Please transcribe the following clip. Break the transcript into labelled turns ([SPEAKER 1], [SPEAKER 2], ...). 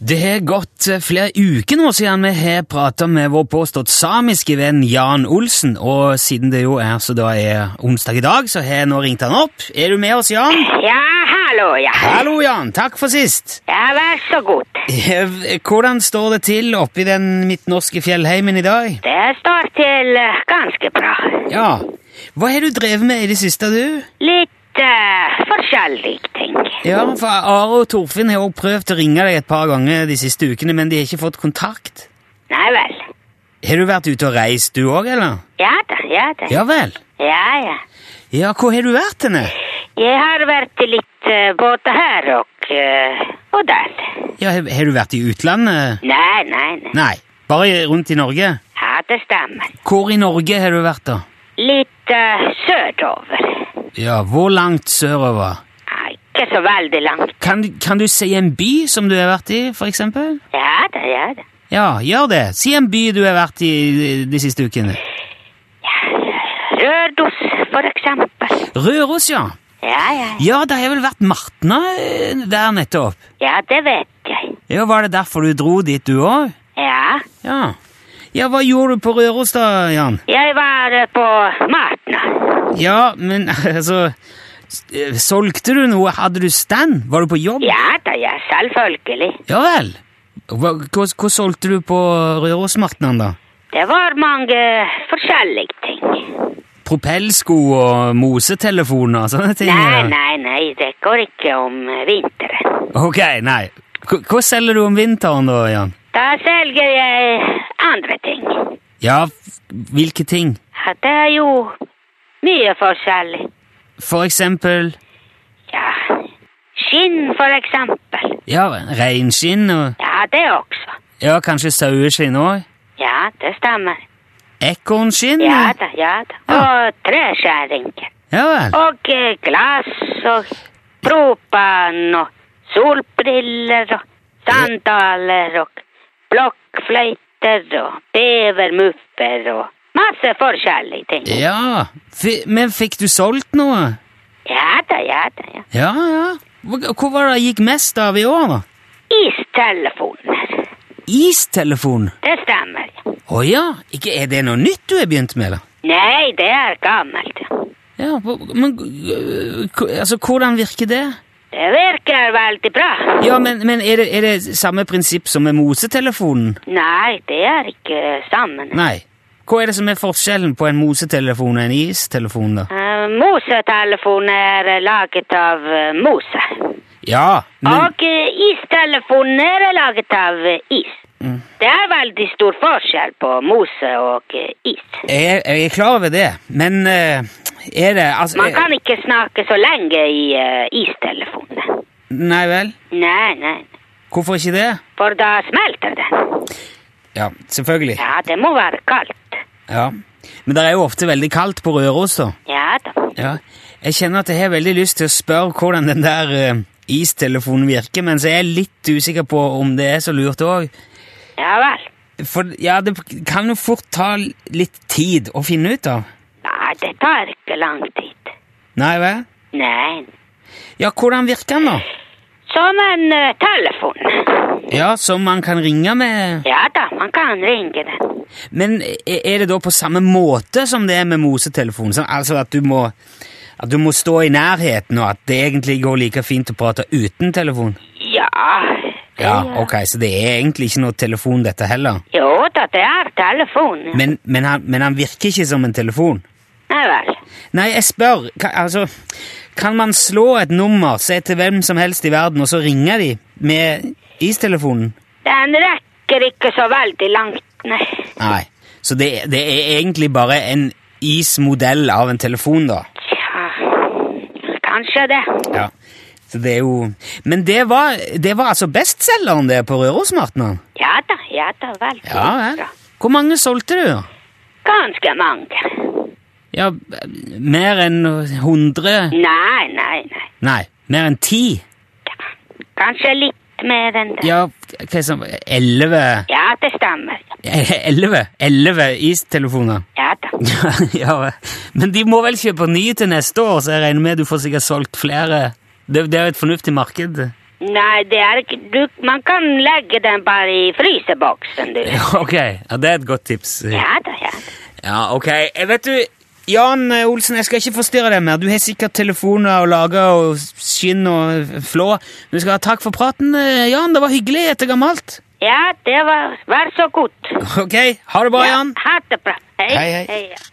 [SPEAKER 1] Det har gått eh, flere uker nå siden vi har prata med vår påstått samiske venn Jan Olsen, og siden det jo er så da er onsdag i dag, så har jeg nå ringt han opp. Er du med oss, Jan?
[SPEAKER 2] Ja, hallo, ja.
[SPEAKER 1] Hallo, Jan. Takk for sist.
[SPEAKER 2] Ja, vær så god.
[SPEAKER 1] Eh, Hvordan står det til oppi den midtnorske fjellheimen i dag?
[SPEAKER 2] Det står til eh, ganske bra.
[SPEAKER 1] Ja. Hva har du drevet med i det siste, du?
[SPEAKER 2] Litt eh, forskjellige ting.
[SPEAKER 1] Ja, for Are og Torfinn har også prøvd å ringe deg et par ganger de siste ukene, men de har ikke fått kontakt.
[SPEAKER 2] Nei vel.
[SPEAKER 1] Har du vært ute og reist, du òg, eller?
[SPEAKER 2] Ja da, ja da.
[SPEAKER 1] Ja vel.
[SPEAKER 2] Ja, ja.
[SPEAKER 1] Ja, hvor har du vært henne?
[SPEAKER 2] Jeg har vært litt eh, både her og, eh, og der.
[SPEAKER 1] Ja, har- Har du vært i utlandet?
[SPEAKER 2] Nei, nei, nei.
[SPEAKER 1] Nei, bare rundt i Norge.
[SPEAKER 2] Ja, det stemmer.
[SPEAKER 1] Hvor i Norge har du vært, da?
[SPEAKER 2] Litt eh, sørover.
[SPEAKER 1] Ja, Hvor langt sørover?
[SPEAKER 2] Ja, ikke så veldig langt.
[SPEAKER 1] Kan, du- kan du si en by som du har vært i, for eksempel?
[SPEAKER 2] Ja da, ja da.
[SPEAKER 1] Ja, gjør det. Si en by du har vært i de siste ukene.
[SPEAKER 2] Rødos, for eksempel.
[SPEAKER 1] Røros, ja.
[SPEAKER 2] Ja, ja.
[SPEAKER 1] Ja, det har vel vært Martna eh, der nettopp.
[SPEAKER 2] Ja, det vet jeg.
[SPEAKER 1] Ja, Var det derfor du dro dit, du òg?
[SPEAKER 2] Ja.
[SPEAKER 1] Ja. ja. Hva gjorde du på Røros, da, Jan?
[SPEAKER 2] Jeg var eh, på Martna.
[SPEAKER 1] Ja, men altså s- eh, Solgte du noe? Hadde du stand? Var du på jobb?
[SPEAKER 2] Ja da, ja, selvfølgelig.
[SPEAKER 1] Ja vel. Hva, hva, hva solgte du på Rørosmartnan, da?
[SPEAKER 2] Det var mange eh, forskjellige ting.
[SPEAKER 1] Propellsko og mosetelefoner og sånne ting?
[SPEAKER 2] Nei,
[SPEAKER 1] eller?
[SPEAKER 2] nei, nei, det går ikke om eh, vinteren.
[SPEAKER 1] Ok, nei. Hva, hva selger du om vinteren, da, Jan?
[SPEAKER 2] Da selger jeg andre ting.
[SPEAKER 1] Ja, f- hvilke ting?
[SPEAKER 2] Ja, det er jo mye forskjellig.
[SPEAKER 1] For eksempel
[SPEAKER 2] Ja, skinn for eksempel.
[SPEAKER 1] ja, reinskinn og
[SPEAKER 2] Ja, det også.
[SPEAKER 1] ja, kanskje saueskinn òg?
[SPEAKER 2] Ja, det stemmer.
[SPEAKER 1] Ekornskinn?
[SPEAKER 2] Ja da, ja da.
[SPEAKER 1] Mm. Ja.
[SPEAKER 2] Og treskjæringer.
[SPEAKER 1] Ja vel.
[SPEAKER 2] Og eh, glass og propan og solbriller og sandaler og blokkfløyter og bevermuffer og masse forskjellige ting.
[SPEAKER 1] Ja, fi, men fikk du solgt noe?
[SPEAKER 2] Ja da, ja da, ja.
[SPEAKER 1] Ja, ja. Hva, hva var det det gikk mest av i år, da?
[SPEAKER 2] Istelefoner.
[SPEAKER 1] Istelefon?
[SPEAKER 2] Det stemmer. ja.
[SPEAKER 1] Å ja, ikke er det noe nytt du har begynt med, eller?
[SPEAKER 2] Nei, det er gammelt.
[SPEAKER 1] Ja, hva- men øh, k- altså, hvordan virker det?
[SPEAKER 2] Det virker veldig bra.
[SPEAKER 1] Ja, men, men er, det, er det samme prinsipp som med mosetelefonen?
[SPEAKER 2] Nei, det er ikke sammen.
[SPEAKER 1] Nei. Hva er det som er forskjellen på en mosetelefon og en istelefon, da?
[SPEAKER 2] Eh, Mosetelefon er laget av eh, mose.
[SPEAKER 1] Ja, men
[SPEAKER 2] Og eh, istelefonen er laget av eh, is.
[SPEAKER 1] Mm.
[SPEAKER 2] Det er veldig stor forskjell på mose og eh, is.
[SPEAKER 1] jeg, jeg er klar over det. Men øh, er det altså
[SPEAKER 2] Man
[SPEAKER 1] jeg-
[SPEAKER 2] kan ikke snakke så lenge i eh, istelefonen.
[SPEAKER 1] Nei vel?
[SPEAKER 2] Nei, nei.
[SPEAKER 1] Hvorfor ikke det?
[SPEAKER 2] For da smelter den.
[SPEAKER 1] Ja, selvfølgelig.
[SPEAKER 2] Ja, det må være kaldt.
[SPEAKER 1] Ja. Men det er jo ofte veldig kaldt på Røros, da.
[SPEAKER 2] Ja da.
[SPEAKER 1] Ja, jeg kjenner at jeg har veldig lyst til å spørre hvordan den der eh, istelefonen virker, men så er jeg litt usikker på om det er så lurt òg.
[SPEAKER 2] Ja vel.
[SPEAKER 1] For ja, det kan jo fort ta litt tid å finne ut av.
[SPEAKER 2] Nei, det tar ikke lang tid.
[SPEAKER 1] Nei vel?
[SPEAKER 2] Nei.
[SPEAKER 1] Ja, hvordan virker den, da?
[SPEAKER 2] Som en eh, telefon.
[SPEAKER 1] Ja, Som man kan ringe med
[SPEAKER 2] Ja da, man kan ringe den.
[SPEAKER 1] Men er er det da på samme måte som det er med mosetelefon? Sånn, altså at du må at du må stå i nærheten, og at det egentlig går like fint å prate uten telefon?
[SPEAKER 2] Ja.
[SPEAKER 1] Ja, ok, Så det er egentlig ikke noe telefon, dette heller?
[SPEAKER 2] Jo da, det er telefon. ja.
[SPEAKER 1] Men, men, han, men han virker ikke som en telefon.
[SPEAKER 2] Nei vel.
[SPEAKER 1] Nei, jeg spør, kan, altså, kan man slå et nummer, se til hvem som helst i verden, og så ringer de med istelefonen?
[SPEAKER 2] Den rekker ikke så veldig langt, nei.
[SPEAKER 1] Nei, så det, det er egentlig bare en ismodell av en telefon, da.
[SPEAKER 2] Tja, kanskje det.
[SPEAKER 1] Ja. Så det er jo... Men det var, det var altså bestselgeren det på Rørosmartnan?
[SPEAKER 2] Ja da, ja da, veldig bra.
[SPEAKER 1] Hvor mange solgte du? da?
[SPEAKER 2] Ganske mange.
[SPEAKER 1] Ja, mer enn hundre...
[SPEAKER 2] Nei, nei, nei.
[SPEAKER 1] Nei, mer enn ti.
[SPEAKER 2] Ja. Kanskje litt mer enn det.
[SPEAKER 1] Ja, hva som... Elleve...
[SPEAKER 2] Ja, det stemmer.
[SPEAKER 1] Elleve. Elleve istelefoner.
[SPEAKER 2] Ja da.
[SPEAKER 1] Ja, ja, men de må vel kjøpe ny til neste år, så jeg regner med du får sikkert solgt flere. Det, det er jo et fornuftig marked.
[SPEAKER 2] Nei, det er ikke du, Man kan legge den bare i fryseboksen, du.
[SPEAKER 1] Ok, ja, det er et godt tips.
[SPEAKER 2] Ja da, ja. da.
[SPEAKER 1] Ja, ok. Eh, Vet du, Jan eh, Olsen, jeg skal ikke forstyrre deg mer. Du har sikkert telefoner og lager og skinn og flå. Men vi skal ha takk for praten, eh, Jan. Det var hyggelig etter gammelt.
[SPEAKER 2] Ja, det var Vær så god.
[SPEAKER 1] Ok, ha det bra, Jan.
[SPEAKER 2] Ja, ha det bra.
[SPEAKER 1] Hei, hei.
[SPEAKER 2] hei ja.